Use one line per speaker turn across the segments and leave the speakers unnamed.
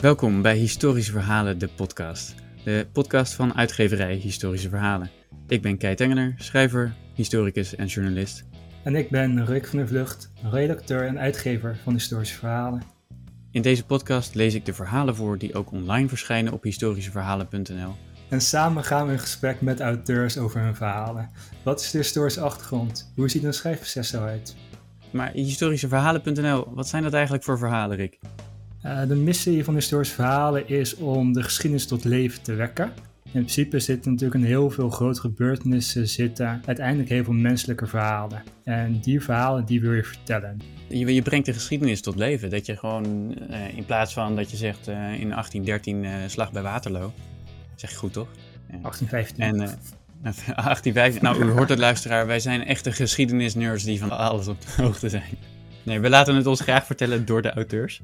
Welkom bij Historische Verhalen, de podcast. De podcast van uitgeverij Historische Verhalen. Ik ben Kei Tengener, schrijver, historicus en journalist.
En ik ben Rick van der Vlucht, redacteur en uitgever van Historische Verhalen.
In deze podcast lees ik de verhalen voor die ook online verschijnen op historischeverhalen.nl.
En samen gaan we in gesprek met auteurs over hun verhalen. Wat is de historische achtergrond? Hoe ziet een schrijfproces eruit?
Maar historischeverhalen.nl, wat zijn dat eigenlijk voor verhalen, Rick?
Eh, de missie van historische verhalen is om de geschiedenis tot leven te wekken. In principe zitten natuurlijk in heel veel grote gebeurtenissen zitten uiteindelijk heel veel menselijke verhalen. En die verhalen die wil je vertellen.
Je, je brengt de geschiedenis tot leven. Dat je gewoon, eh, in plaats van dat je zegt eh, in 1813 eh, slag bij Waterloo. Zeg je goed, toch?
1815.
En eh, 1815. Nou, u hoort het, luisteraar. Wij zijn echte geschiedenisnerds die van alles op de hoogte zijn. Nee, we laten het ons graag vertellen door de auteurs.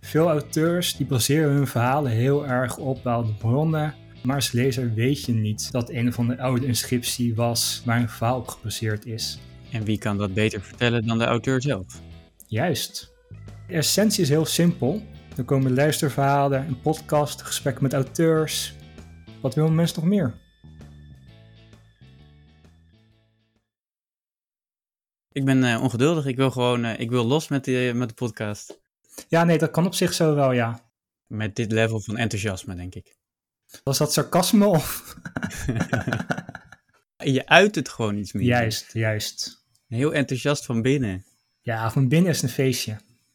Veel auteurs die baseren hun verhalen heel erg op bepaalde bronnen. Maar als lezer weet je niet dat een of andere oude inscriptie was waar een verhaal op gebaseerd is.
En wie kan dat beter vertellen dan de auteur zelf?
Juist. De essentie is heel simpel. Er komen luisterverhalen, een podcast, gesprekken met auteurs. Wat wil een mens nog meer?
Ik ben eh, ongeduldig. Ik wil gewoon eh, ik wil los met de, met de podcast.
Ja, nee, dat kan op zich zo wel, ja.
Met dit level van enthousiasme, denk ik.
Was dat sarcasme of...
Je uit het gewoon iets meer.
Juist, juist.
Heel enthousiast van binnen.
Ja, van binnen is het een feestje.